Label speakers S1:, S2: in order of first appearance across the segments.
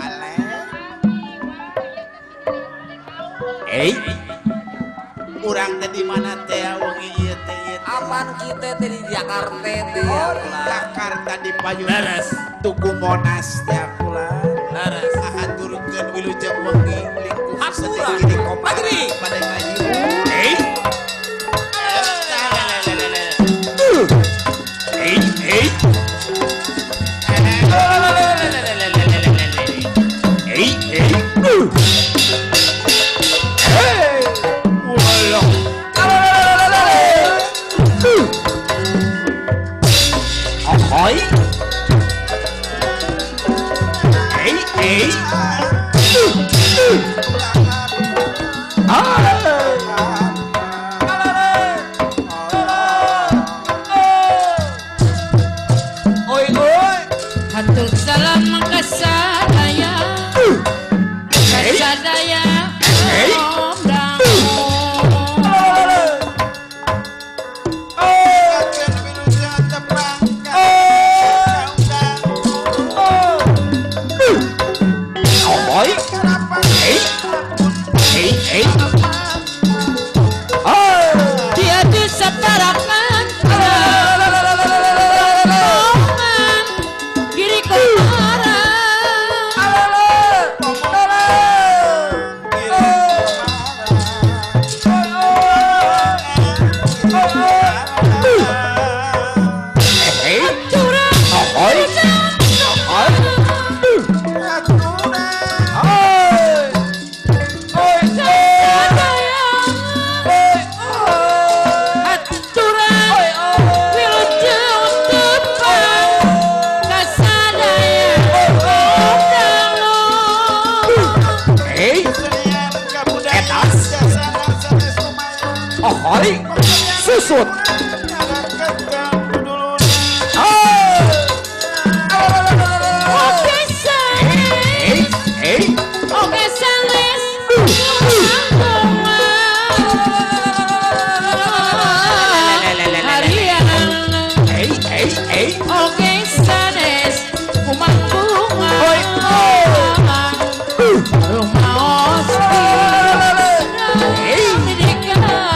S1: อะไร
S2: Eh,
S1: Kurang tadi mana teh wong ieu teh ieu teh.
S3: Aman kita teh di Jakarta teh ya
S1: Oh, di
S3: Allah.
S1: Jakarta di Payun.
S2: Beres.
S1: Tuku Monas teh kula.
S2: Beres.
S1: Ahaturkeun wilujeng wengi lingkungan
S3: Aturan.
S1: sedaya di Kopari.
S3: Padri.
S1: Pada ngayu.
S2: eh, eh, eh, eh, eh, uh. Hey, walau. Uh. Ahoy. Eh, eh, uh, uh. Ah.
S3: Oi oi.
S4: Hatur salam kasadaya Kasadaya
S2: Hey.
S4: Omdang
S1: Akeun wilujeng tepang. Undang-undang.
S2: Ahoy. Eh, eh, eh. Ah.
S4: Tiada setarakan Omang Kiri kemara
S2: Hey.
S4: Curang
S2: Ahoy. Ahoy. Uh. Ahoy.
S4: Kasadaya Haturang Wilujeng tepang Kasadaya Omdang
S2: Hey. Ahoy. Susut. Ah.
S4: Oke sales,
S2: Hey. Hey.
S4: oke sales, kumang harian.
S2: Hey. Hey. Hey.
S4: Oke sales, kumang
S2: Oi, oi.
S4: kumang
S2: Uh.
S4: rumah osti.
S2: Hey.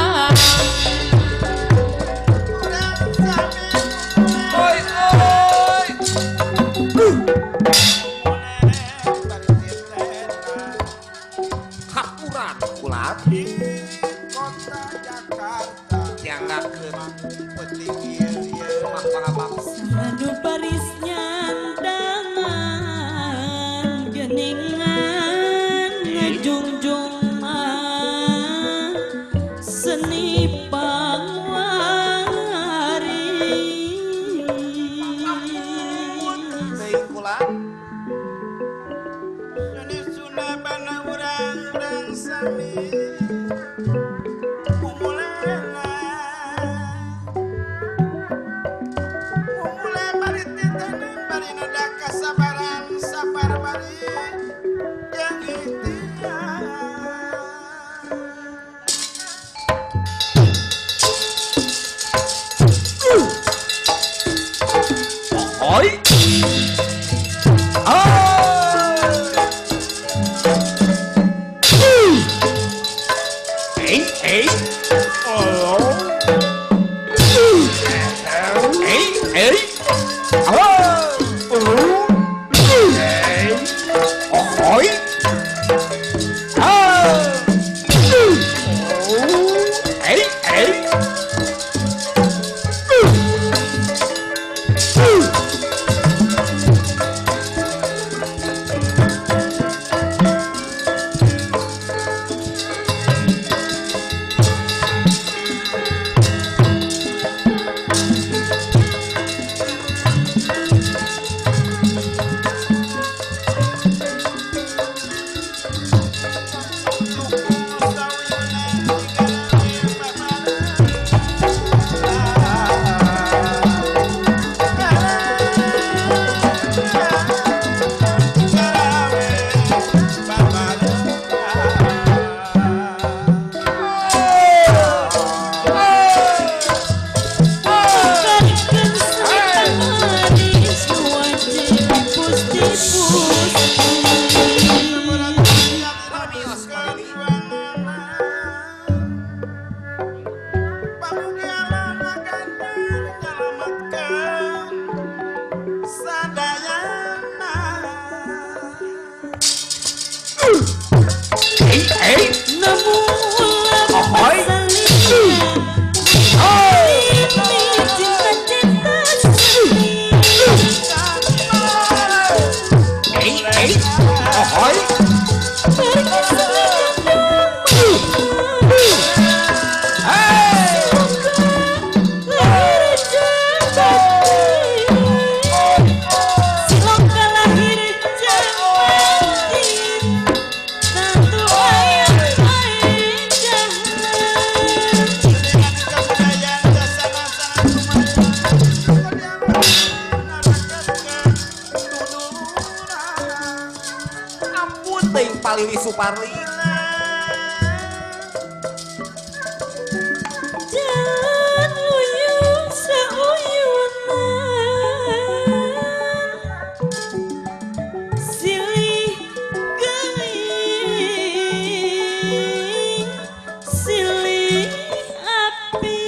S3: Hapuran ulat. Jangan ke mak para bangsa.
S5: Anu baris nyandangan Geningan ngejungjung mah Seni pangwaris
S2: Ahoy. Ah. Uh. Hey. Hey. Hey, hey. Hello. Hello. Hey. Oh,
S6: Hey, hey,
S7: Namun
S6: ahoy. Hey, hey, ahoy. Hey,
S3: Ampun ting palili suparli.
S7: Silih geling, silih api.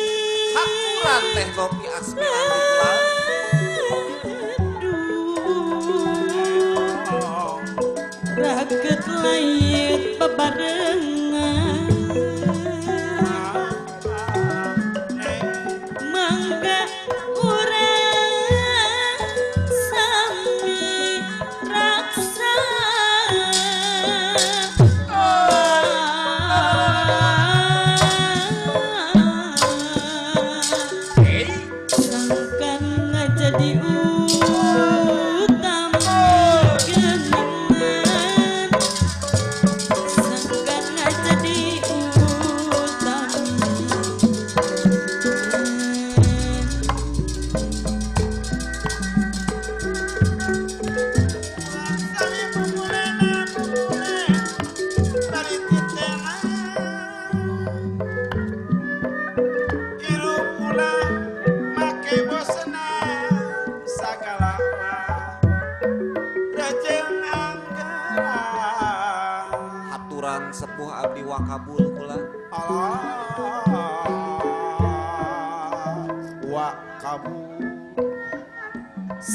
S3: Hapuran teh kopi aspiranti kulaan.
S7: Aduh, raket layut bebarengan Mangga urang sami raksa Sangkan aja di utama geningan Sangkan aja di utama
S3: Haturan sepuh abdi wakabul kula.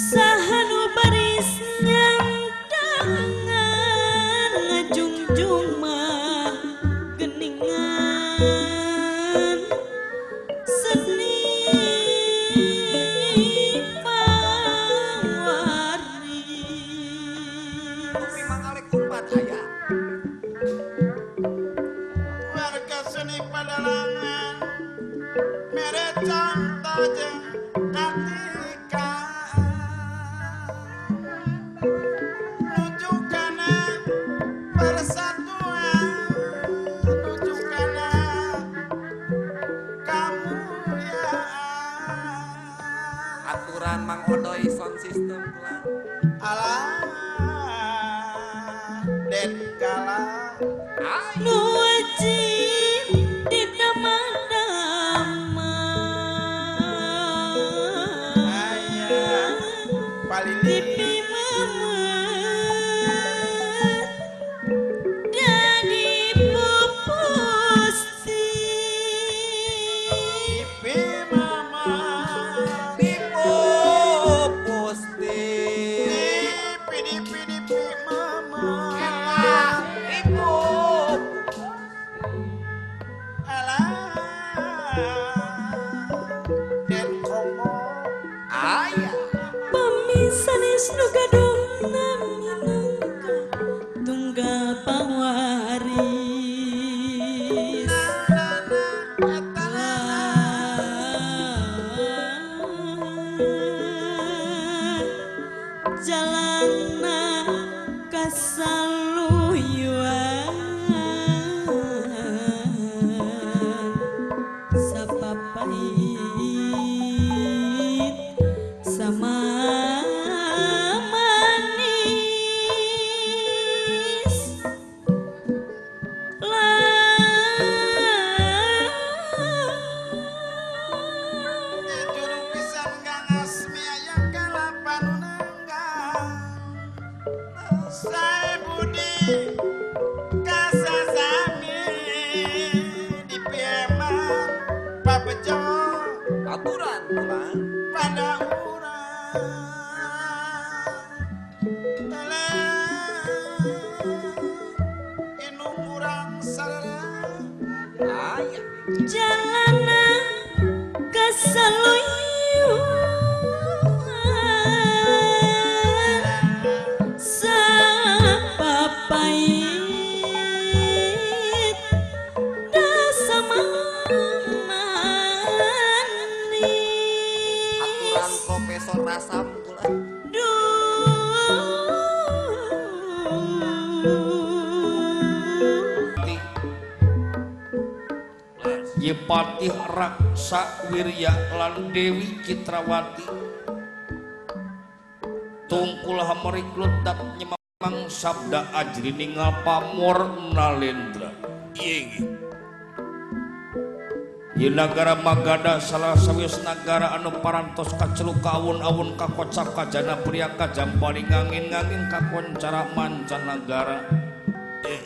S7: Sahanu baris nyangdangan Ngejungjung mah geningan Seni pangwaris
S3: Memang alek kumpat haya.
S2: Warga seni padalangan Mere canto jeung atika Nuju kana persatuan Nuju kana ya. kemuliaan
S3: Aturan Mang Odoi sound system kula.
S2: Alah Den kalah
S3: Ay.
S7: Nuwajin di taman-taman
S2: ayah Palili
S7: Pipi memet Dari pupusti
S2: Pipi mama
S3: Pipo Pusti. Pipo. Aya.
S7: Pemisan isnu gadung naminangka Tunggal pawaris Jalana kasaluyuan Sapapait sama manis lah
S2: Bejo
S3: Aturan kula.
S2: pada urang telah
S6: Nyepatih Raksa Wirya lan Dewi Citrawati Tungkul hamariklud dat nyemang sabda ajri ningal pamor nalendra
S2: Iya,
S6: Di negara Magada salah sawius negara anu parantos kaceluk ka awun-awun kakocak kajana pria kajampani ngangin-ngangin kakoncara mancanagara
S2: iya.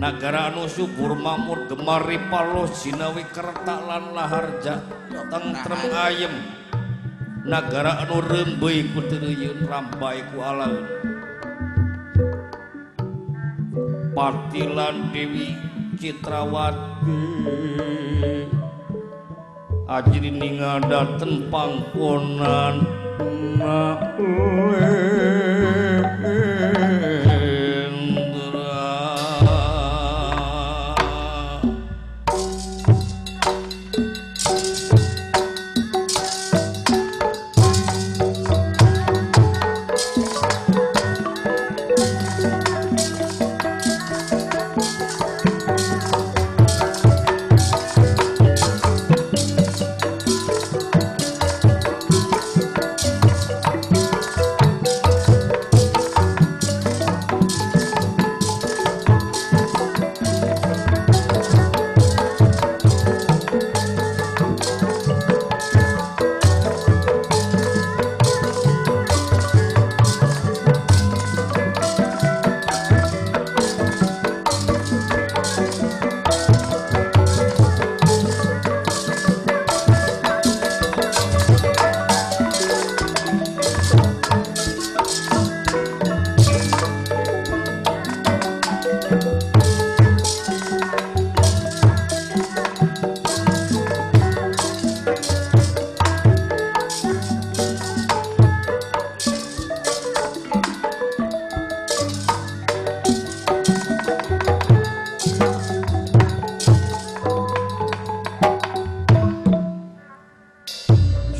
S6: Nagara anu subur mamut gemari palo sinawi kerta lan laharja tentrem ayem Nagara anu rembei ku teruyun rambai ku alaun Patilan Dewi Citrawati Ajri ningadaten pangkonan Nakulendra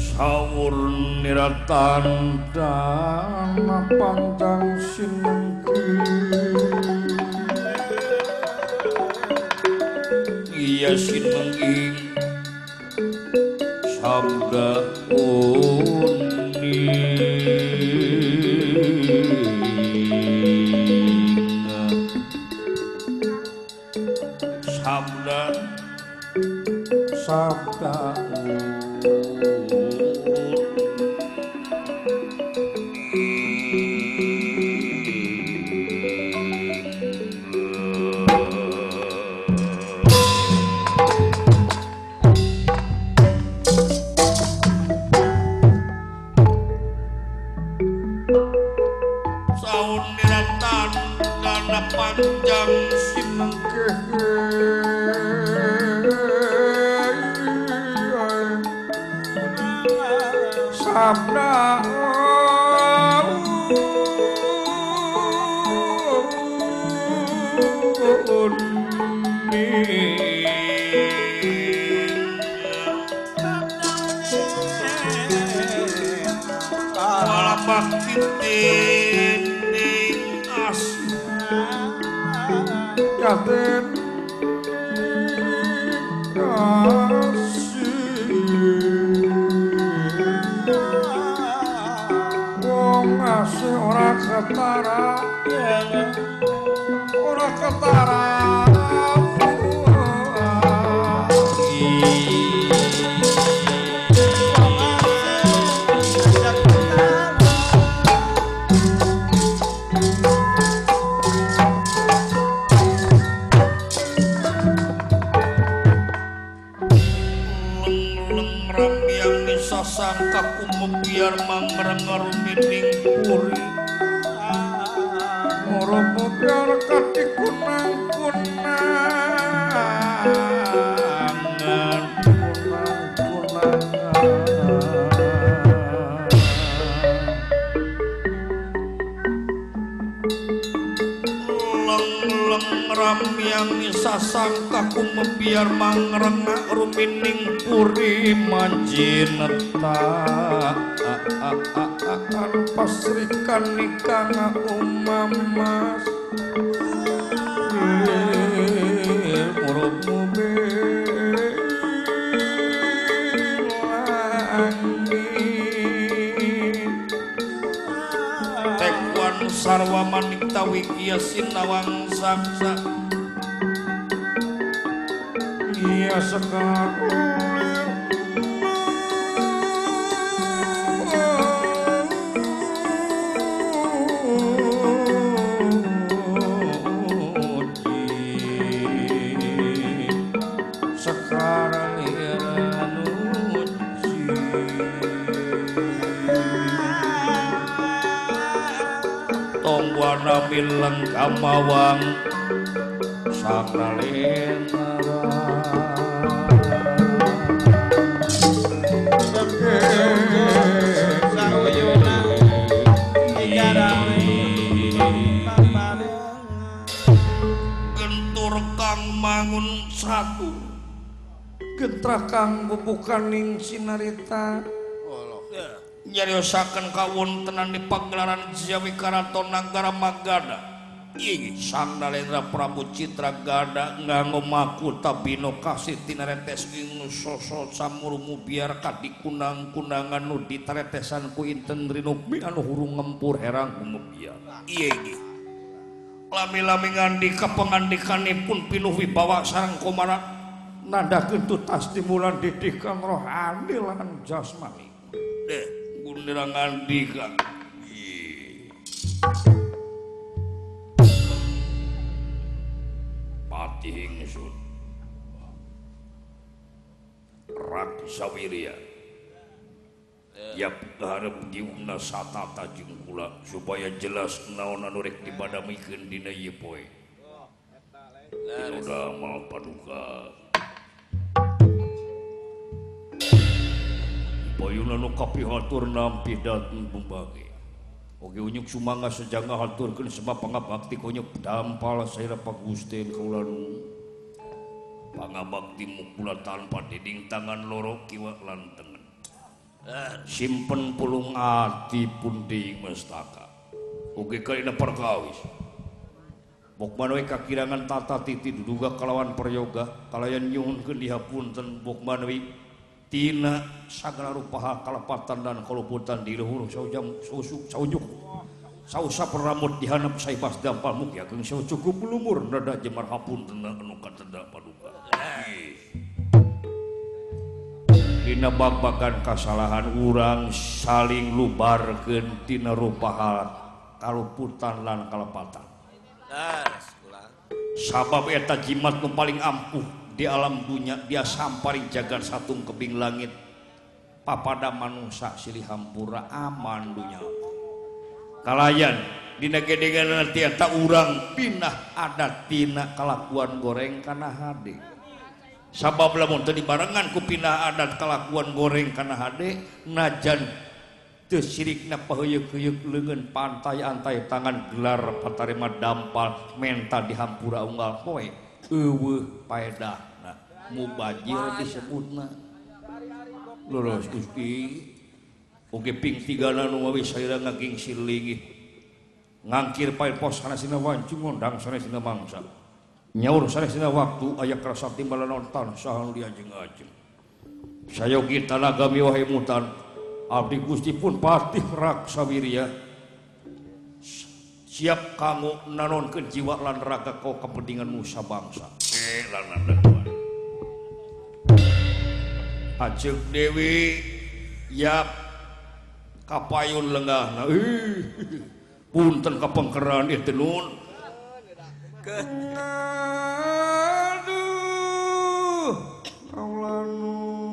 S6: sawur niratan dan panjang sinengki iya sinengki sabda unik sabda sabda Saun niratan karena panjang sinengkeh sabda Yaten kasih Wong asih ora ketara Ora ketara Leng-leng rambiang bisa sangka kumuk biar mangrengar mining puri Morobo biar katiku nang kunangan Leng-leng rambiang bisa sangka kumuk biar mangrengar rumining puri manjinetaan pasrikan nikah umam mas Murutmu be Anu sarwa manikta wikia sinawang saksa Iya sekali sekarang Tongwana mileng kamawang sakralena
S2: Sauyuna digarawe paparengan.
S6: gentur kang mangun satu gentra kang bubukaning sinarita nyariosaken kawontenan di pagelaran Jawi Karaton Nagara Magada Ih, Sang Nalendra Prabu Citra Gada nganggo makuta bino kasih tinaretes ing sosot samurmu biar kadikunang-kunangan nu ditaretesan ku inten rinukmi anu hurung ngempur herang gumebiar. Iye nggih. Lami-lami ngandika pengandikanipun pinuh wibawa sareng komarat nada kentut timulan didikan rohani lan jasmani. Deh, gundira ngandika. Ih. Pati ingsun. Raksa wirya. Yap harap diumna satata jeung kula supaya jelas naon anu rek dibadamikeun dina ieu poe. Udah mal paduka. Bayuna nu kapihatur nampi dateng bumbagi. Oge unyuk sumangga sejangga haturkeun sebab pangabakti konyuk dampal saira pagusten kaula nu. Pangabakti mukula tanpa dinding tangan loro kiwa lan tengen. Simpen pulung ati pundi mestaka. Oge kaina perkawis. Bok manoe kakirangan tata titi duduga kalawan peryoga kalayan nyuhunkeun dihapunten bok manoe tina sagala rupaha kalepatan dan kaluputan di luhur saujam sausuk saujuk sausa peramut dihanap saibas dampal mukya geung sawu cukup lumur nada jemar hapunten anu katenda paduka. Ih. Dina babagan kasalahan urang saling lubarkeun tina rupaha kaluputan lan kalepatan.
S3: Terus kula.
S6: Sabab eta jimat nu paling ampuh di alam dunia dia samparing jagat satung kebing langit. Papada manusia silih hampura aman dunia. Kalayan dina gedengan nanti eta urang pindah adat tina kalakuan goreng kana hade. Sabab lamun teu dibarengan ku pindah adat kalakuan goreng kana hade najan teu sirikna paheuyeuh-heuyeuh leungeun pantai-antai tangan gelar patarima dampal menta dihampura unggal poe eueuh paedahna mubajir disebutna Lolos Gusti oge ping tigana nu mawi saira ngaging silingih ngangkir pae pos kana sina wancung ngondang sana sina mangsa nyaur sana sina waktu aya kerasa timbalan nonton saha nu diajeng-ajeng Sayogi tanaga miwahe mutan Abdi Gusti pun patih raksa wirya Siap kamu nanonkeun jiwa lan raga kau kepentingan nusa bangsa Eh lan anda tuan Ajeng Dewi Yap Kapayun lengahna Ih Punten kapengkeran eh, ieu teh nun Aduh Allah nu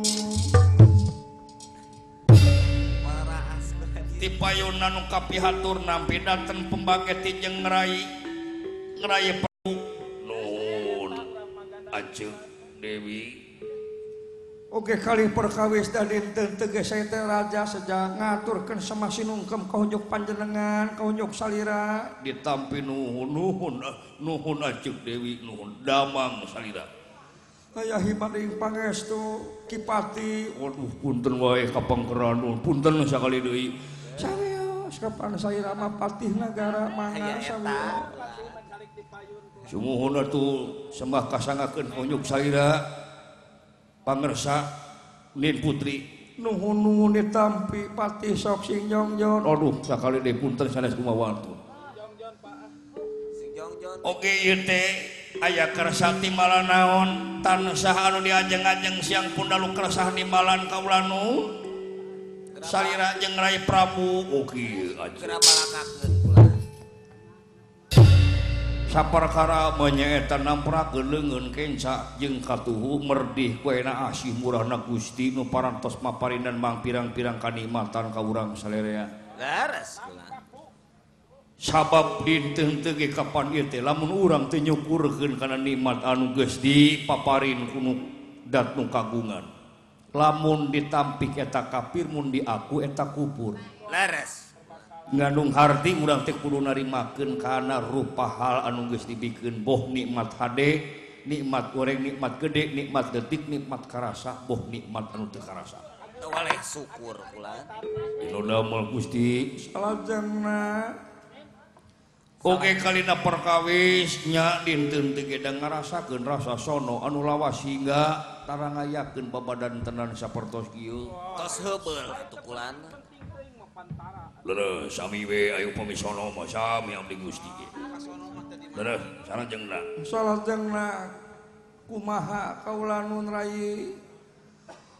S3: Para asmani.
S6: ti payunan nu kapihatur nampi dateng pembangke ti jeung ngerai ngerai perlu nuhun ajeung dewi
S8: Oke kali perkawis dan dinten tegas saya teh raja sejak ngaturkan sama sinungkem kaunyuk panjenengan kaunyuk salira
S6: ditampi nuhun nuhun ah, nuhun ajeung dewi nuhun damang salira
S8: ayah hibading pangestu kipati
S6: waduh punten wae kapengkeran nuhun punten sakali deui
S8: sawios kapan salira mah patih negara
S3: Aya
S8: mana
S3: eta.
S8: sawios
S6: sumuhun atuh sembah kasangakeun konyuk salira pangersa nin putri
S8: nuhun nuhun ditampi patih sok sing nyongjon
S6: aduh sakali deui punten sanes kumaha wantun
S3: John.
S6: Oke ieu teh aya kersati malanaon tansah anu diajeng-ajeng siang pundalu kersah di malan kaulanu salira jeung Rai Prabu oke ieu aja
S3: Kenapa lakakeun pula?
S6: saperkara menyetan nampra geleungeun kenca jeung katuhu merdih ku enak asih murahna Gusti nu parantos maparindan mang pirang-pirang kanikmatan ka urang salerea
S3: Leres pula.
S6: sabab dinten teu ge kapan ieu teh lamun urang teu nyukurkeun kana nikmat anu geus dipaparin ku nu dat nu kagungan lamun ditampik eta kafir mun diaku eta kubur
S3: Leres.
S6: ngandung harti urang teh kudu narimakeun kana rupa hal anu geus dibikeun boh nikmat hade nikmat goreng nikmat gede nikmat detik nikmat karasa boh nikmat anu teu karasa
S3: Teu waleh syukur pula.
S6: dina damel Gusti
S8: Salajengna
S6: Oke kalina perkawis nya dinten teu gedang ngarasakeun rasa sono anu lawas hingga tarangayakeun babadan tenan sapertos kieu.
S3: Tos heubeul atuh kulan.
S6: Leureuh sami we ayo pamisono mah sami abdi Gusti ge. Leureuh sarajengna.
S8: salajengna kumaha kaulanun rai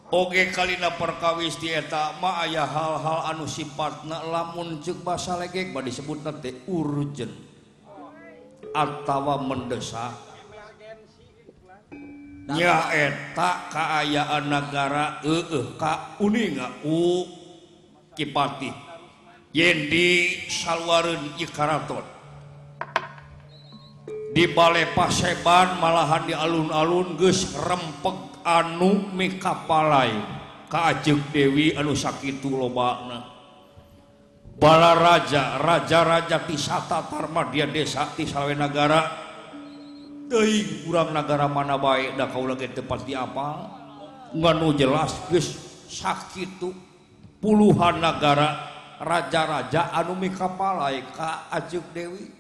S6: Oge kalina perkawis di eta mah aya hal-hal anu sifatna lamun ceuk basa legek mah disebutna teh urgent atawa mendesak. Nya eta kaayaan negara eueuh ka uninga u kipati. Yen di saluareun ikaraton. di Balai Paseban malahan di alun-alun geus rempeg anu mikapalai ka Ajeng Dewi anu sakitu lobana bala raja raja-raja ti Satatarma dia desa ti Salwenagara teuing urang nagara mana bae da kaula ge teu pasti apal nganu jelas geus sakitu puluhan nagara raja-raja anu mikapalai ka Ajeng Dewi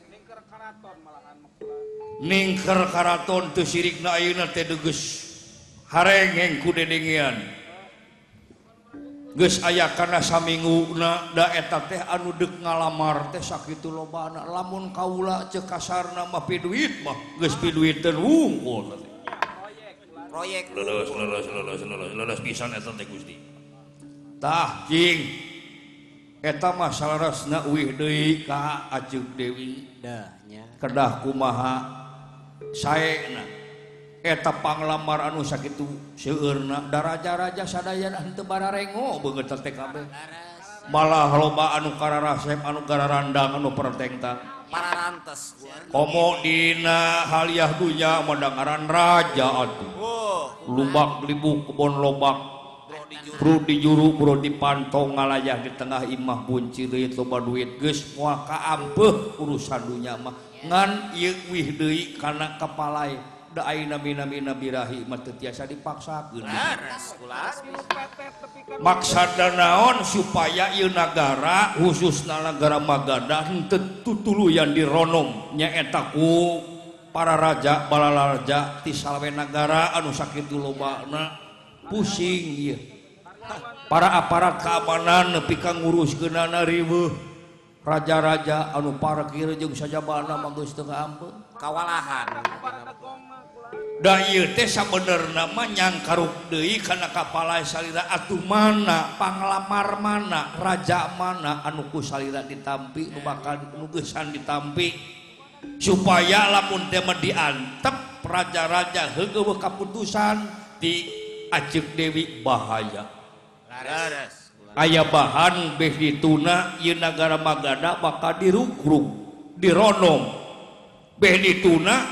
S6: ningker karaton teu sirikna ayeuna teh deugeus harengeng ku dedengian geus aya kana saminguna da eta teh anu deuk ngalamar teh sakitu lobana lamun kaula ceuk kasarna mah pi duit mah geus pi duiteun wungkul
S3: Proyek
S6: leuleuh leuleuh leuleuh leuleuh leuleuh pisan eta teh Gusti tah cing eta mah salarasna uih deui ka Ajeuk Dewi
S3: dahnya.
S6: kedah kumaha saena eta panglamar anu sakitu seueurna da raja-raja sadayana henteu bararengo beungeut teh kabeh malah loba anu kararasep anu gararandang anu pertengtang
S3: Pararantes kulan.
S6: komo dina haliah dunya mandang aran raja atuh
S3: Oh,
S6: lubak libuk kebon lobak bro di juru bro di pantong ngalayah di tengah imah bunci duit loba duit geus moal kaampeuh urusan dunya mah ngan ieu wih deui kana kepalae da ayeuna mina-mina birahi mah teu tiasa dipaksakeun
S3: leres kulan.
S6: maksada naon supaya ieu nagara khususna nagara Magadah henteu tutuluyan dironom nyaeta ku para raja bala raja ti salwenagara anu sakitu lobana pusing ieu para aparat keamanan nepi ka nguruskeunana riweuh raja-raja anu parkir jeung sajabana mah geus teu ngaampun
S3: Kawalahan.
S6: Da ieu teh sabenerna mah nyangkaruk deui kana kapala salira atuh mana, panglamar mana, raja mana anu ku salira ditampi, nu bakal nu geusan ditampi. Supaya lamun teh mah diantep raja-raja heugeuh kaputusan di Ajeng Dewi bahaya.
S3: Leres kulan.
S6: Aya bahan beh dituna ieu nagara Magada bakal dirukruk, dironom. Beh dituna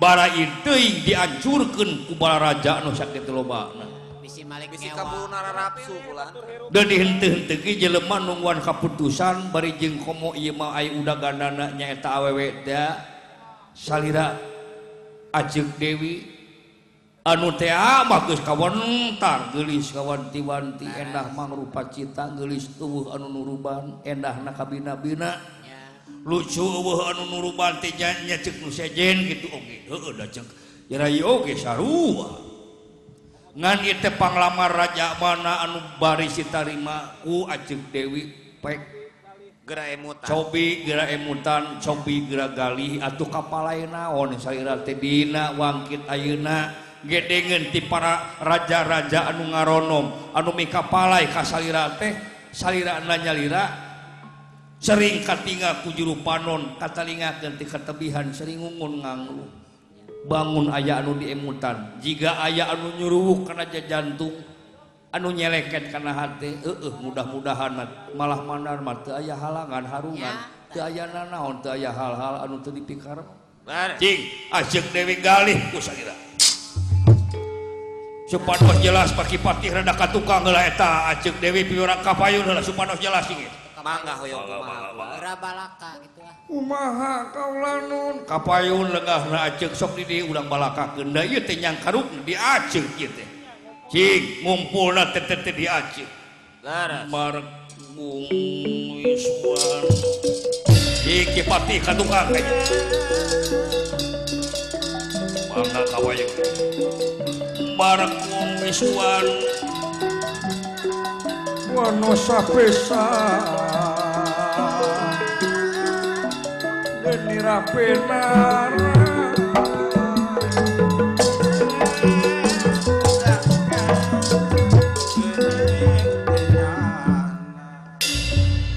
S6: bara inteuing diancurkeun ku bala raja anu sakitu lobana.
S4: Bisi Malik
S3: Bisi kaburu nararapsu kulan.
S6: Da dihenteu-henteu ge jelema nungguan kaputusan bari jeung komo ieu mah aya udagandana nyaeta awewe da salira Ajeng Dewi anu teh mah geus kawentar geulis kawanti-wanti endah mangrupa cita geulis eueuh anu nuruban endahna kabina-bina lucu eueuh anu nuruban teh nya- nya ceuk nu sejen kitu oge heueuh da ceuk rai oge sarua ngan ieu teh panglamar raja mana anu bari sitarima ku Ajeng Dewi pek
S2: gerak emutan.
S6: cobi gerak emutan cobi gerak galih atuh kapalai naon saira teh dina wangkit ayeuna gedengen ti para raja-raja anu ngaronom anu mikapalai ka salira teh salira nyalira sering katinga ku juru panon katalingakeun ti ketebihan sering ngungun nganglu bangun aya anu di emutan jiga aya anu nyuruwuk kana jantung anu nyeleket kana hati eh mudah-mudahan malah mandar mah teu aya halangan harungan teu aya nanaon teu aya hal-hal anu teu dipikarep
S2: Bener.
S6: Cing, asyik Dewi Galih ku sakira. Supanos jelas paki patih rada katukang heula eta asyik Dewi piurang kapayun heula supanos jelas cing.
S3: Mangga hoyong
S6: Mangga, mangga,
S3: kumaha.
S6: mangga.
S4: Rabalaka gitu ah.
S8: Umaha kaulanun
S6: Kapayun lengahna asyik sok di dieu urang balakakeun da ieu teh nyang karuk di asyik ieu teh. Cing, ngumpulna teh teh teh di asyik.
S2: Bener.
S6: Marek Bung Wiswan. Cing ki patih katukang kayaknya. Mangga kawayeng. Marek Bung Wiswan.
S8: Wanosa pesa Denira penar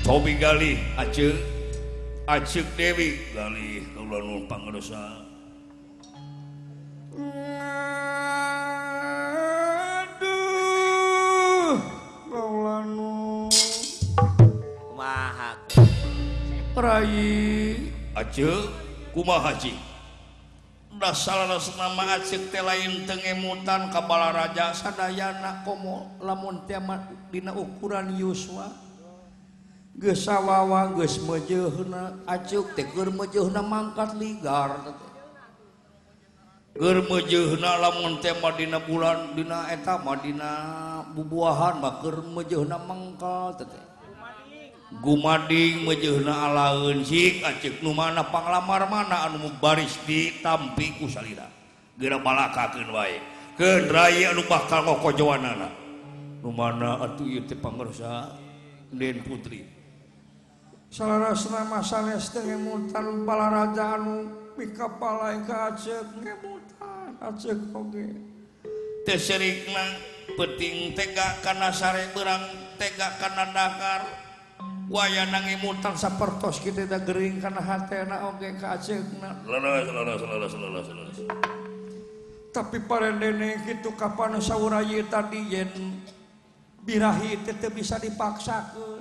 S6: Cobi Galih Aceh Aceh Dewi Galih Kaulah Nur Pangerosa
S8: Aduh Kaulanu
S3: Kumaha.
S8: Rai
S6: Aceh Kumaha Haji Udah salah nama Aceh teh lain tengemutan kabala raja sadayana komo
S8: lamun tiamat dina ukuran Yuswa geus sawawa geus meujeuna acuk teh keur meujeuna mangkat ligar
S6: Ger mejehna lamun teh mah dina bulan dina eta mah dina bubuahan mah ger mejehna mangkal teh teh. Gumading mejehna alaeun sik acek nu mana panglamar mana anu baris di tampi ku salira. Geura balakakeun wae. Keun raya anu bakal ngokojoanana. Nu mana atuh ieu teh pangersa Den Putri.
S8: salarasna masanes teh ngemutan balaraja anu pikapalae ka acuk ngemutan acuk oge
S6: Teh serikna penting tega kana sare berang tega kana dakar wayana ngimutan
S8: sapertos kitu da gering kana hatena oge ka acukna
S6: leles leles leles leles leles
S8: tapi parendene kitu kapan saurayi tadi yen birahi teh teu bisa dipaksakeun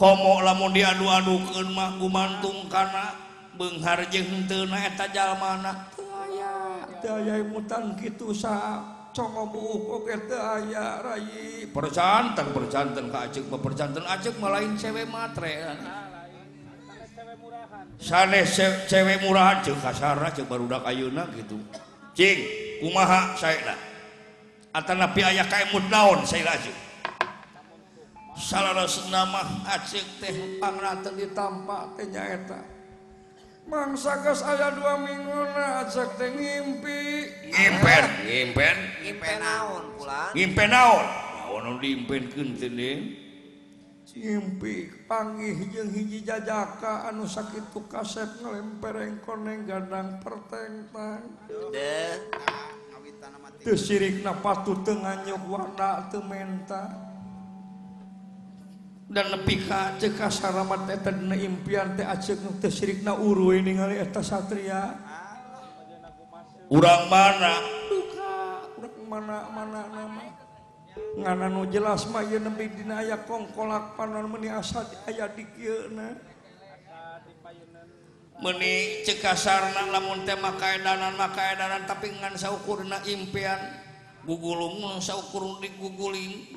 S6: komo lamun diadu-adukeun mah gumantung kana beunghar jeung henteu na eta jalmana
S8: daya mutan gitu sa congo buuk oke teu aya rai
S6: percanten percanten ka acik mah percanten acik mah lain cewek matre sanes ce- cewek murahan ceuk kasarna ceuk barudak ayeuna gitu cing kumaha saena atanapi aya kaemut naon saena acik salarasna mah acik teh
S8: pangraten ditampak teh nyaeta mangsa geus aya dua minguna ajak teh ngimpi
S6: ngimpen ngimpen
S3: Ngimpen naon pulang.
S6: ngimpen naon naon anu diimpenkeun teh Nin?
S8: ngimpi panggih jeung hiji jajaka anu sakitu kasep ngalempereng koneng gandang pertengtang
S3: Deh.
S8: teu sirikna patu teu nganyuk wanda teu menta dan nepi ka aceh ka saramat eta dina impian teh aceh nu teu sirikna uruy ningali eta satria
S6: urang mana
S8: duka udah mana mana nama ngana nu jelas mah ieu nepi dina aya kongkolak panon meni asa aya di kieu na
S6: meni cekasarna lamun teh maka edanan maka edanan tapi ngan saukurna impian gugulung mun saukur diguguling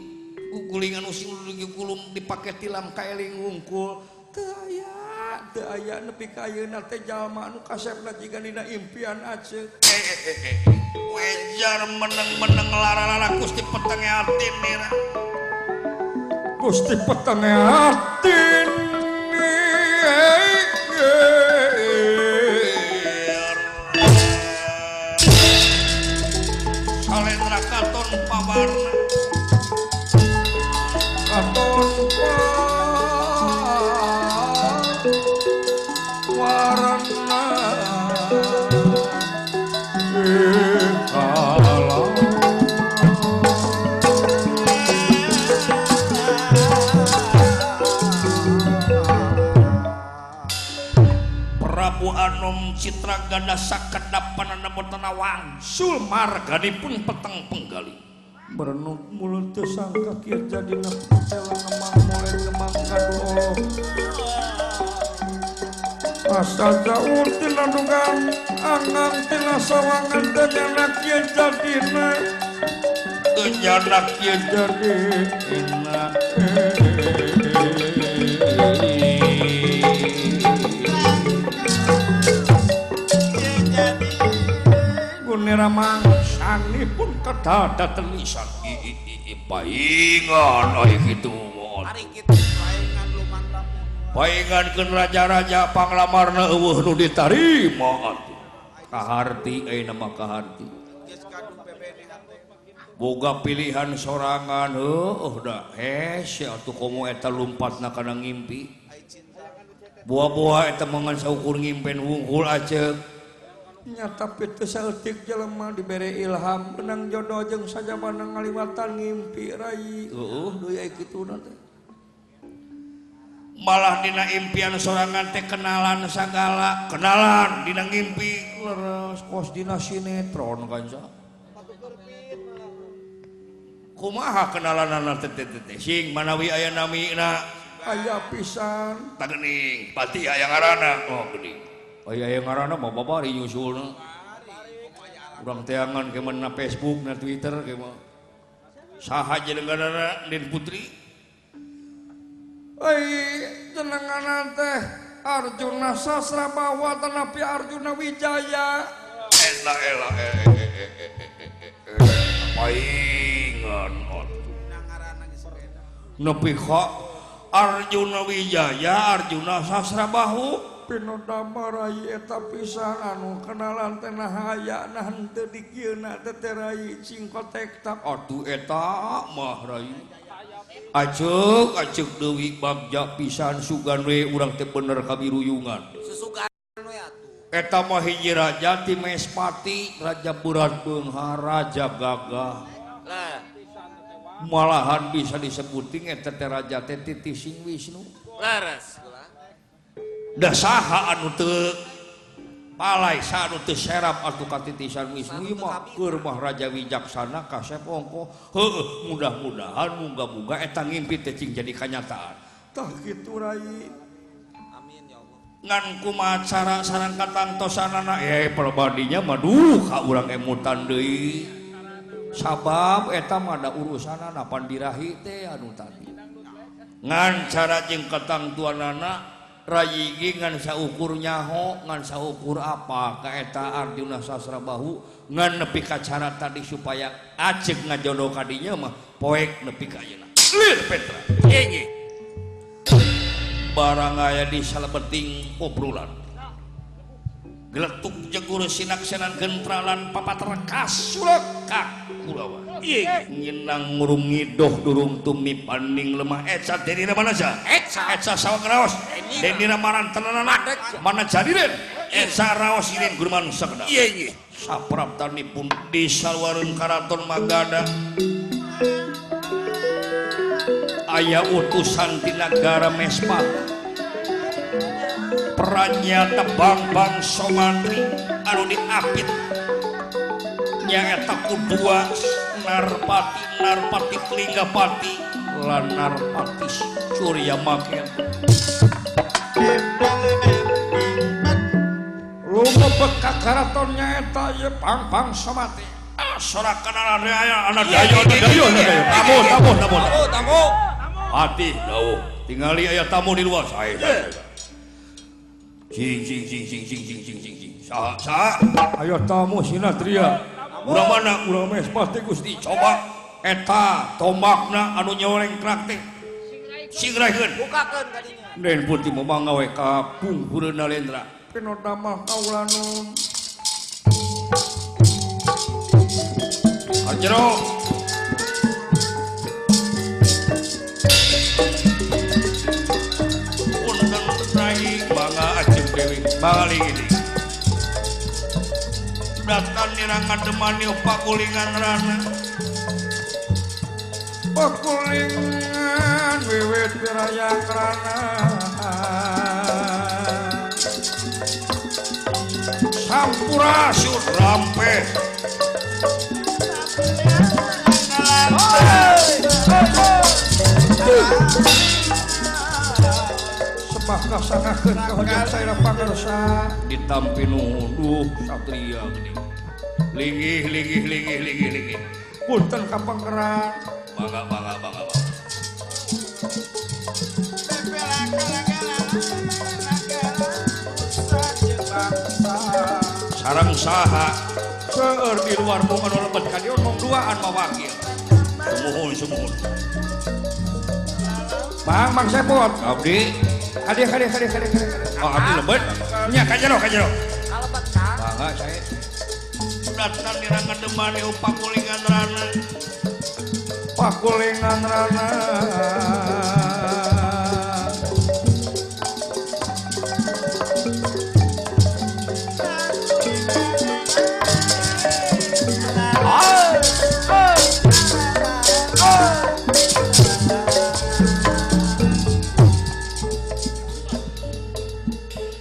S6: guguling anu sing digugulung dipake tilam kaeling wungkul
S8: teu aya teu aya nepi ka ayeuna teh jalma nu kasepna jiga dina impian aceh
S6: Eh, eh, eh, eh. wejar meneng-meneng lara-lara gusti petenge atin nira
S8: Gusti petenge atin
S6: salendra katon pabarna
S8: katon pa
S6: Prabu Anom Citra Ganda Sakada Pananabotanawang Sulmar Gadipun Peteng Penggali
S8: Bernuk mulut tersangka kia jadi nepela nemang mulai nemang kaduo Asal jauh tina dugang Angang tina sawangan dan anak kia jadi na
S6: Genyana Kieu
S8: Jadi enak Gunira mangsani pun kedada telisan
S6: Paingan ai kitu mon.
S2: Hari kita layangan lumantan.
S6: Paingankeun raja-raja panglamarna eueuh nu ditarima atuh. Kaharti ai nama kaharti.
S2: Geus kadung BBNH teh.
S6: Boga pilihan sorangan heuh da hese atuh komo eta lumpatna kana ngimpi.
S2: Ai cinta.
S6: Buah-buah eta mangan saukur ngimpen wungkul aceuk.
S8: nyata pitu Celtic jelema diberi ilham benang jodoh jeung saja bandang ngaliwatan ngimpi rai
S6: Heuh.
S8: deui ai kituna teh
S6: Malah dina impian sorangan teh kenalan sagala, kenalan dina ngimpi.
S8: leres kos dina sinetron kanca
S6: Kumaha kenalanana teh teh teh, teh sing manawi aya namina.
S8: aya pisan
S6: Tagening, pati aya ngaranna. Oh, geuning. Aya aya ngaranna mah babari nyusulna. Urang teangan ke mana Facebook, na Twitter ke mah. Saha jenenganna Din Putri?
S8: ai jenenganan teh Arjuna Sasra Bawa tanapi Arjuna Wijaya
S6: Eta ela eh, eh, eh, eh, eh, eh, eh, eh. paingan atuh. Nepi ka Arjuna Wijaya, Arjuna Sasra Bahu.
S8: pinu damar rai eta pisan anu kenalan teh nah aya nah henteu dikieuna teh teh rai cingkot tektak
S6: Aduh eta mah rayu. Acek, acek dewi bagja pisan sugan we urang teh bener kabiruyungan.
S3: Sesukaan we atuh.
S6: Eta mah hiji raja ti Mespati, raja berat beunghar, raja gagah.
S3: Lah,
S6: Malahan bisa disebutin eta teh raja teh titi sing Wisnu.
S3: leres kula.
S6: Da saha anu teu palai sa anu teu serap atuh ka titisan Wisnu ieu mah keur mah raja wijaksana kasep ongko. Heueuh, mudah-mudahan muga-muga eta ngimpi teh cing jadi kanyataan.
S8: tah kitu rai
S3: Amin ya Allah.
S6: ngan kumaha cara sarang katangtosanana eh perbadinya maduh ka urang emutan deui sabab eta mah ada urusanana pandirahi teh anu tadi ngan cara jeung katangtuanana rayigi ngan saukur nyaho ngan saukur apa ka eta Arjuna Sasra Bahu ngan nepi ka cara tadi supaya acek ngajodoh kadinya mah poek nepi ka ayeuna clear Petra
S3: Enye.
S6: barang aya di salebeting obrolan geletuk jegur sinaksenan gentralan papat rekas sulekak kulawa Ih, nginang ngurung ngidoh durung tumi paning lemah eca deni mana aja
S3: Eca.
S6: eca sawah raos deni ramaran
S3: Adek.
S6: tenanan mana jadi den eca raos irin gurman sakda
S3: Enye.
S6: sapraptanipun disalwareun karaton Magada aya utusan ti nagara Mespat peranya tebang-bang Somantri anu diapit nyaeta kudua Narpati Narpati Klingapati lan Narpati Surya Makin
S8: lumebek ka karatonnya eta ye pang-pang somati
S6: Ah, sorakan anak daya anak daya anak daya anak daya tamu tamu tamu
S3: Oh, tamu.
S6: Hati dawuh. Tingali aya tamu di luar. Saya. saya, saya. Sing sing sing sing sing sing sing sing sing. Saha saha.
S8: ayo tamu sinatria
S6: Urang mana urang
S8: urang mes pasti Gusti
S6: coba eta tombakna anu nyoreng krak teh. Singraikeun.
S3: Bukakeun kadinya.
S6: Den putih memang ngawe ka pungkureun Nalendra.
S8: pinu damah kaulanun
S6: Arjero. Punten rai bangga ajeng dewi bali gini. Datan nirangan demani pakulingan rana.
S8: Pekulingan wiwit piraya krana
S6: Sampura Sudrampe
S8: Sebab kasangakeun ka hoyong saya pangarsa.
S6: ditampi nuhun duh satria gede linggih linggih linggih linggih linggih
S8: Punten ka pangeran.
S6: bangga bangga bangga bangga sarang saha seueur di luar bukan lebet kalian mong duaan mawakil semuhun semuhun
S8: Bang, Bang Sepot.
S6: abdi
S8: Adik, adik, adik, adik, adik.
S6: oh, abdi lebet nya kajero kajero
S8: Bangga saya.
S6: datang di rangan demani upah kulingan rana
S8: Pakulingan rana.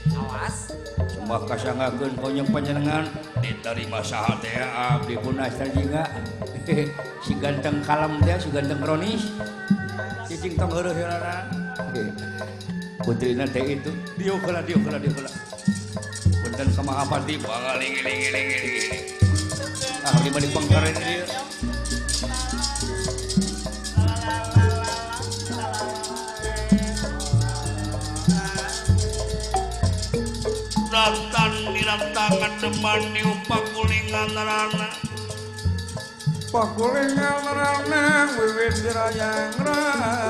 S6: Sembah kasangakeun konyong panjenengan diterima saha teh ah, abdi pun asal jingga. si ganteng kalam teh si ganteng kronis. Cicing tong heureuh heureuh. Putrina teh itu dieu kala dieu kala dieu kala. Punten ka Mahapati bagal lingi lingi lingi lingi. Ah lima di pangkaran ieu. Datang diratangan deman di upah kulingan rana.
S8: Pakulingan rana. Wiwit dirayang rana.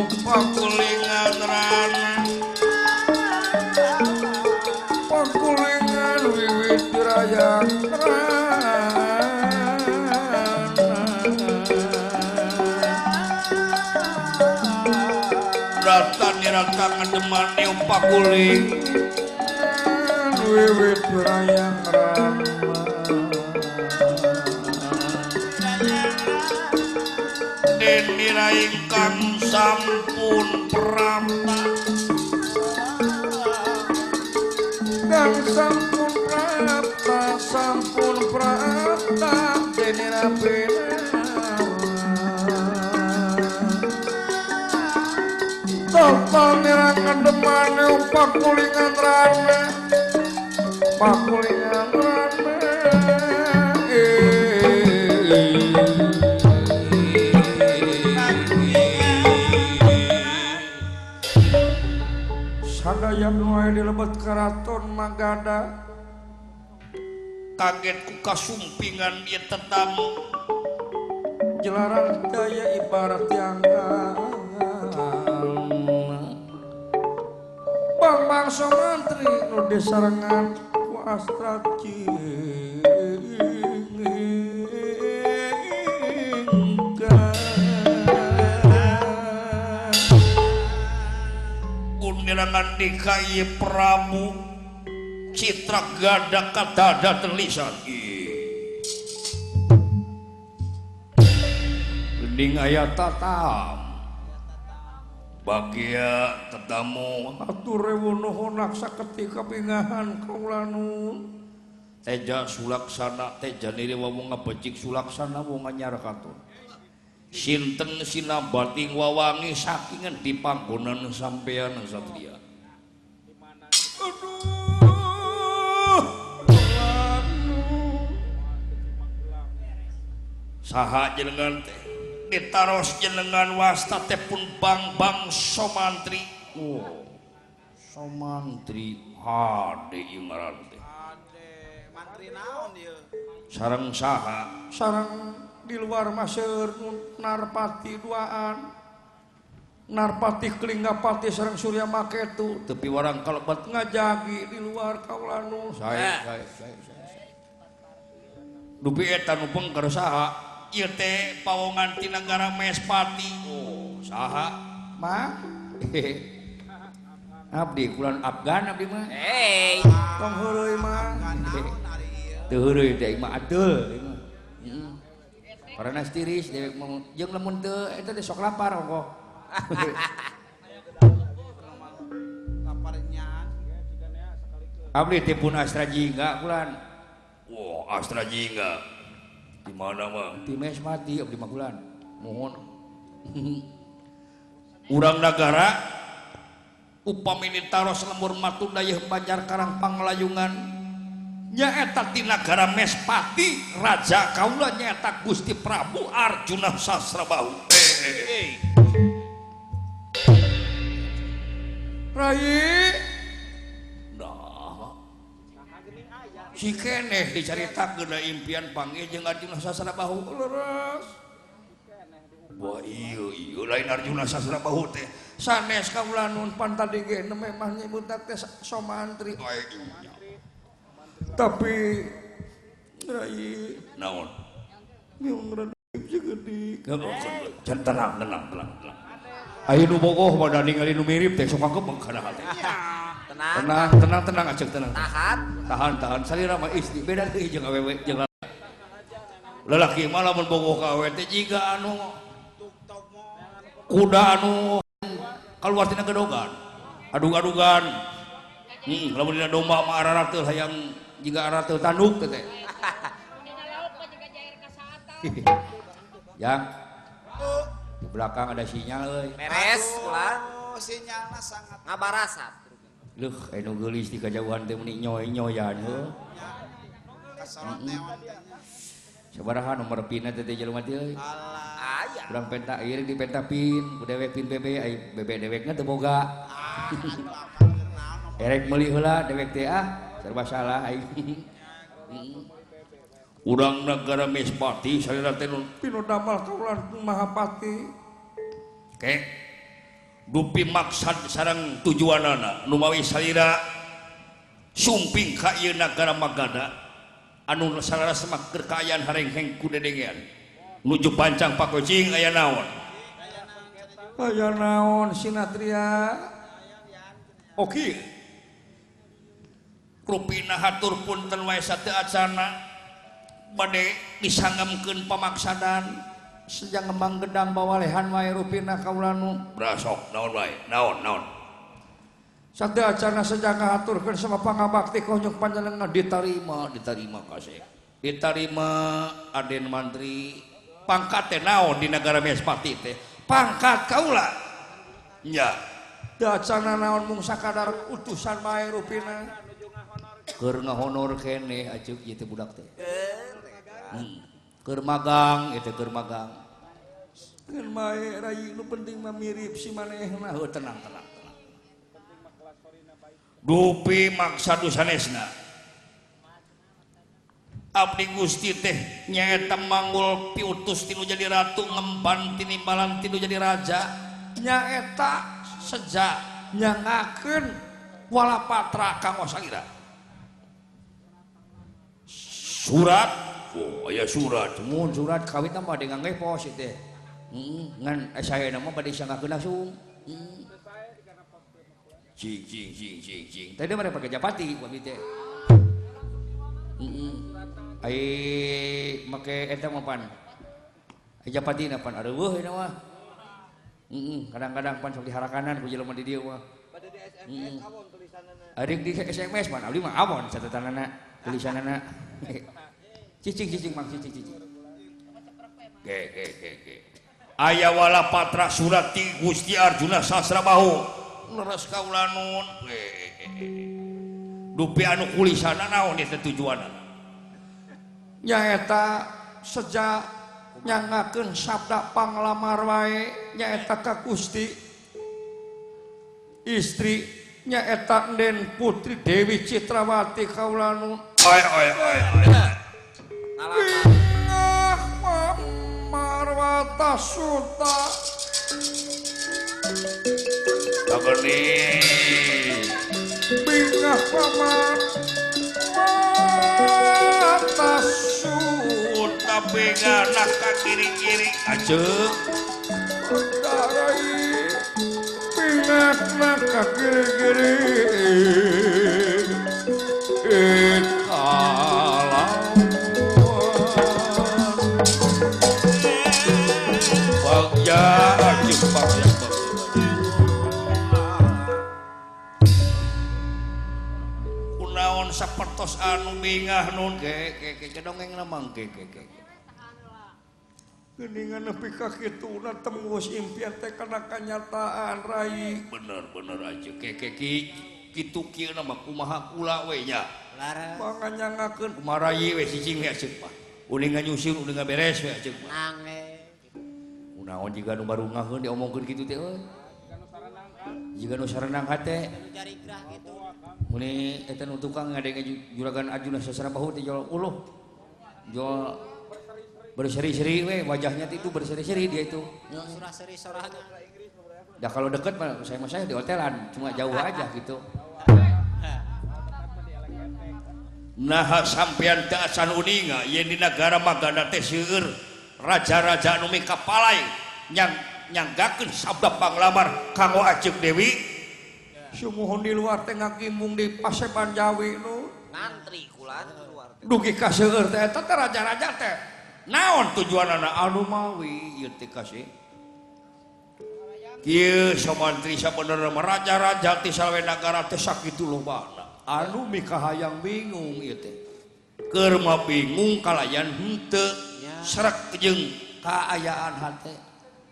S6: Kulingan rana.
S8: Pakulingan wiwit dirayang rana.
S6: Datang diratangan deman di upah kuling.
S8: wiwit berayang rama
S6: Denira ingkang sampun prama
S8: dan sampun prata sampun prata dene rapi Tolong nirangan demane pakulingan rana Pakulingan rana eh. Sadaya nuai dilebet keraton Magada
S6: kaget ku kasumpingan dia tetamu
S8: Jelarang daya ibarat yang Bang bangsa mantri nu disarengan ku astra cingga.
S6: kunirangan DKI Prabu Citra gada kata ada tulisan Gending ayat tatam Bagia ya tetamu
S8: Atur rewun nuhunak saketika pingahan kaulanun
S6: Teja sulaksana teja niri wawung ngabecik sulaksana wong anyar katun Sinteng sinabating wawangi sakingan dipanggonan sampean satria
S8: Aduh
S6: saha jenengan teh ditaros jenengan wasta teh pun bang bang somantri oh somantri hade ieu ngaran teh
S2: mantri naon dia
S6: sareng saha
S8: sarang di luar maseur nu narpati duaan narpati kelingapati sarang surya maketu
S6: tepi warang kalebet
S8: ngajagi di luar kaulanu
S6: saya saya saya Dupi eta nu bengker saha ieu teh pawongan ti negara Mespati oh saha
S8: ma
S6: abdi kulan Afgan abdi mah
S3: Hei,
S8: tong heureui mah
S6: Teu heureui teh mah adel ieu mah. Heeh. Karena tiris dewek mau jeung lamun teu eta teh sok lapar kok. Abdi teh pun Astra Jingga kulan. Wah, Oh, Astra Jingga. Di mana mah? Di mes mati abdi mah kulan. Mohon. Urang nagara upamini taros lemur matundayeuh banjar karang panglayungan nyaeta ti nagara Mespati raja kaula nyaeta Gusti Prabu Arjuna Sasrabahu
S8: rai
S6: nah si keneh diceritakeun da impian panggil jeung Arjuna Sasrabahu leres Wah iya iya lain Arjuna Sasrabahu teh
S8: sanes kaula nun pantadi ge memang nyebutna teh somantri
S6: Ai, iya.
S8: tapi rai
S6: naon
S8: nyung radip segede
S6: Eh. Can tenang tenang tenang tenang Ayo nu bogoh pada ningali nu mirip teh sok kagem kana hati.
S3: tenang,
S6: Tenang tenang tenang acek tenang.
S3: tahan.
S6: tahan tahan salira mah istri beda deui jeung awewe jeung lalaki. lalaki mah lamun bogoh ka awewe teh jiga anu kuda anu kaluar tina gedogan adug-adugan hmm, lamun dina domba mah ararah teu hayang jiga ararah teu tanduk teh teh yang di belakang ada sinyal euy
S3: Beres, pulang.
S2: oh sinyalnya sangat
S3: Ngabarasat.
S6: Duh, anu geulis di kajauhan teh meni nyoy-nyoyan heuh.
S2: kesorot neon tanya
S6: Sabaraha nomor pina teh teh jelema teh euy.
S2: alah
S3: Ayah.
S6: Urang penta ieu di penta pin, ku dewek pin bebe, ai bebe dewekna teu boga. Erek meuli heula dewek teh ah, serba salah ai. Urang negara Mispati salira teh nun
S8: pinu damel kaula mahapati
S6: ke dupi maksad sarang tujuanana nu mawi salira sumping ka ieu nagara Magada anu sarara semak kekayaan hareng-heng ku dedengean nuju pancang pakojing aya naon
S8: aya naon sinatria
S6: Oke. Rupina hatur pun wae satu acana. Bade disangemkeun pamaksadan.
S8: sejak ngembang gedang bawalehan wae rupina kaula nu
S6: Brasok naon wae? Naon naon?
S8: Sate acana sejak ngahaturkeun sama pangabakti konjung panjenengan
S6: Ditarima,
S8: ditarima
S6: ditarima kasih. Ditarima Aden Mantri pangkat teh naon di negara Mespati teh? Pangkat kaula. Nya,
S8: dacana naon mung sakadar utusan wae rupina
S6: keur ngahonor keneh ajeuk ieu teh budak teh. Hmm. Keur magang ieu teh keur magang.
S8: kan mae rai nu penting mah mirip si manehna
S6: Heuh, tenang tenang tenang. Dupi maksa sanesna. Abdi Gusti teh nyaeta manggul piutus tinu jadi ratu ngemban tinimbalan tinu jadi raja nyaeta seja nyangakeun walapatra kanggo salira. Surat, oh aya surat. Mun surat kawit mah dengan ngepos ieu teh. Heeh, ngan eh, saya nama bade sangkakeun langsung. Heeh. Cing cing cing cing cing. Tadi mereka pakai japati Hmm. abdi teh. Heeh. Ai make eta mah pan. Ai japati na pan areuweuh eta mah. Heeh, Hmm, kadang-kadang pan sok diharakanan ku jelema di dieu mah. Heeh. Hmm. Adik di SMS pan abdi mah awon catatanana tulisanana. Cicing cicing mang cicing cicing. Ge ge ge ge. Aya walapatra surat ti Gusti Arjuna Sasrabahu. Leres kaula nun. Ge, ge, ge. Dupi anu kulisana naon eta tujuanna.
S8: nyaeta sejak nyangakeun sabda panglamar wae nyaeta ka Gusti istri nyaeta Den Putri Dewi Citrawati Kaulanun
S6: Oi oi oi. oi.
S8: Bingah Marwata Suta
S6: Kabeli.
S8: Bingah Marwata Suta
S6: Tapi nganak ka kiri-kiri. Ajeng.
S8: Darai Pingat maka giri-giri Ikalauan
S6: Bagja ajeng bagja. Kunaon sapertos anu bingah nun ge ge ge kedongeng namang ge ge ge.
S8: Geningan nepi ka kituna tembus impian teh kana kanyataan rai
S6: Bener bener aja ge ge ki kitu kieu nama kumaha kula we nya.
S2: Lara
S8: panganyangakeun
S6: Kumarayi we sijing we ajeun mah. Uling nganyusin uling ngaberes we ajeun mah.
S2: nangis.
S6: Kunaon jiga oh, nu barungaheun diomongkeun kitu teh euy. Jiga nu sarenang hate.
S2: Cari gerah gitu.
S6: Muli eta nu tukang ngadenge ju- juragan Arjuna Sasana Bahu teh jual uluh. Jual berseri-seri we wajahnya teh itu berseri-seri dia itu.
S2: Yo surah seri sorahnya.
S6: Dah kalau deket mah saya mah saya di hotelan, cuma jauh aja gitu. Nah sampean teh acan uninga yen di negara Maganda teh seueur raja-raja anu mikapalai nyang nyanggakeun sabda panglamar kanggo Ajeng Dewi.
S8: sumuhun di luar teh ngagimbung di Paseban Jawi nu
S3: Nantri kulan keluar.
S8: dugi ka seueur teh eta teh raja-raja teh
S6: Naon tujuanana anu mawi ieu teh kasih. Kieu samantri sabenerna mah raja-raja ti salwe nagara teh sakitu lobana. Anu mikahayang bingung ieu teh. Keur mah bingung kalayan henteu serek jeung kaayaan hate.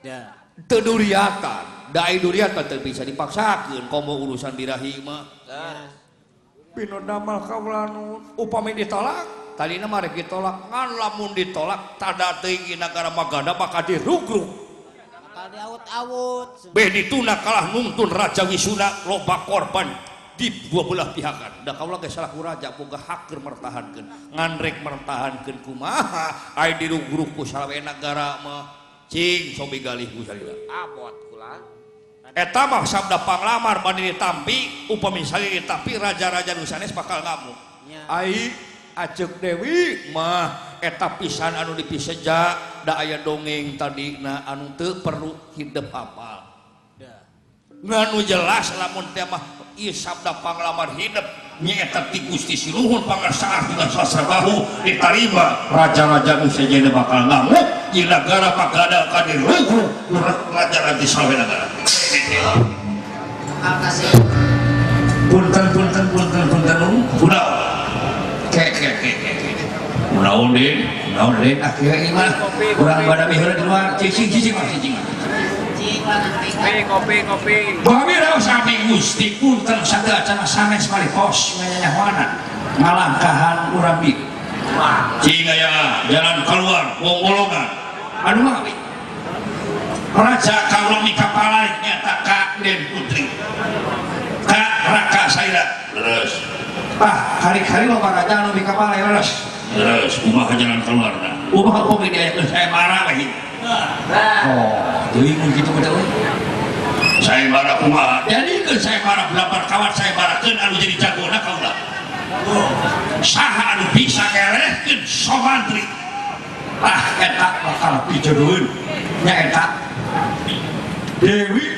S2: Dah.
S6: Teu duriatan, dai duriatan teu bisa dipaksakeun komo urusan birahi mah.
S8: Pino damal kaulanun upami ditolak
S6: Talina mah rek ditolak, ngan lamun ditolak tada teuing nagara Maganda bakal dirugruk.
S2: Bakal diawut-awut.
S6: Beh dituna kalah nuntun Raja Wisuna loba korban di dua belah pihakan. Da kaulah ge salah ku raja boga hak keur mertahankeun, ngan rek mertahankeun kumaha ai diruguruk ku salawena nagara mah. Cing sobi galih ku salila.
S3: Abot kulan.
S6: Eta mah sabda panglamar bani ditampi, upami salili tapi raja-raja nu sanes bakal ngamuk. Ai ajek Dewi mah eta pisan anu dipiseja da aya dongeng tadina anu teu perlu hidup hafal. Nganu jelas lamun teh mah ieu sabda panglamar hidup nyaeta ti Gusti Siluhun pangarsaah tidak sasabahu ditarima raja-raja nu sejenna bakal ngamuk di negara pagada ka dirugu raja-raja salwe negara. Punten punten punten punten um kunaon? Kek kek kek kek. kek. Kunaon din? Kunaon din? Akhirnya iman. Kurang pada mihara di luar. Cicing cicing Mas, cicing. Mas. Bami raos abdi Gusti punten saged cenah sanes malipos nyanyahoanan ngalangkahan urang bi. Cing aya jalan keluar wong golongan. Anu abdi. Raja kaulah di kapalai nyata Kak Den Putri. Kak Raka Saira. Terus. Ah, hari-hari lo raja anu di kapalai terus. Terus, kumaha jalan keluar nah. Kumaha kok diajakeun saya marah lagi. Oh, teuing mun kitu kudu saya bara kumaha jadi ke saya bara belapar kawat saya bara keun anu jadi jagona kaulah saha anu bisa ngerehkeun sobantri ah eta bakal pijereun nya eta Dewi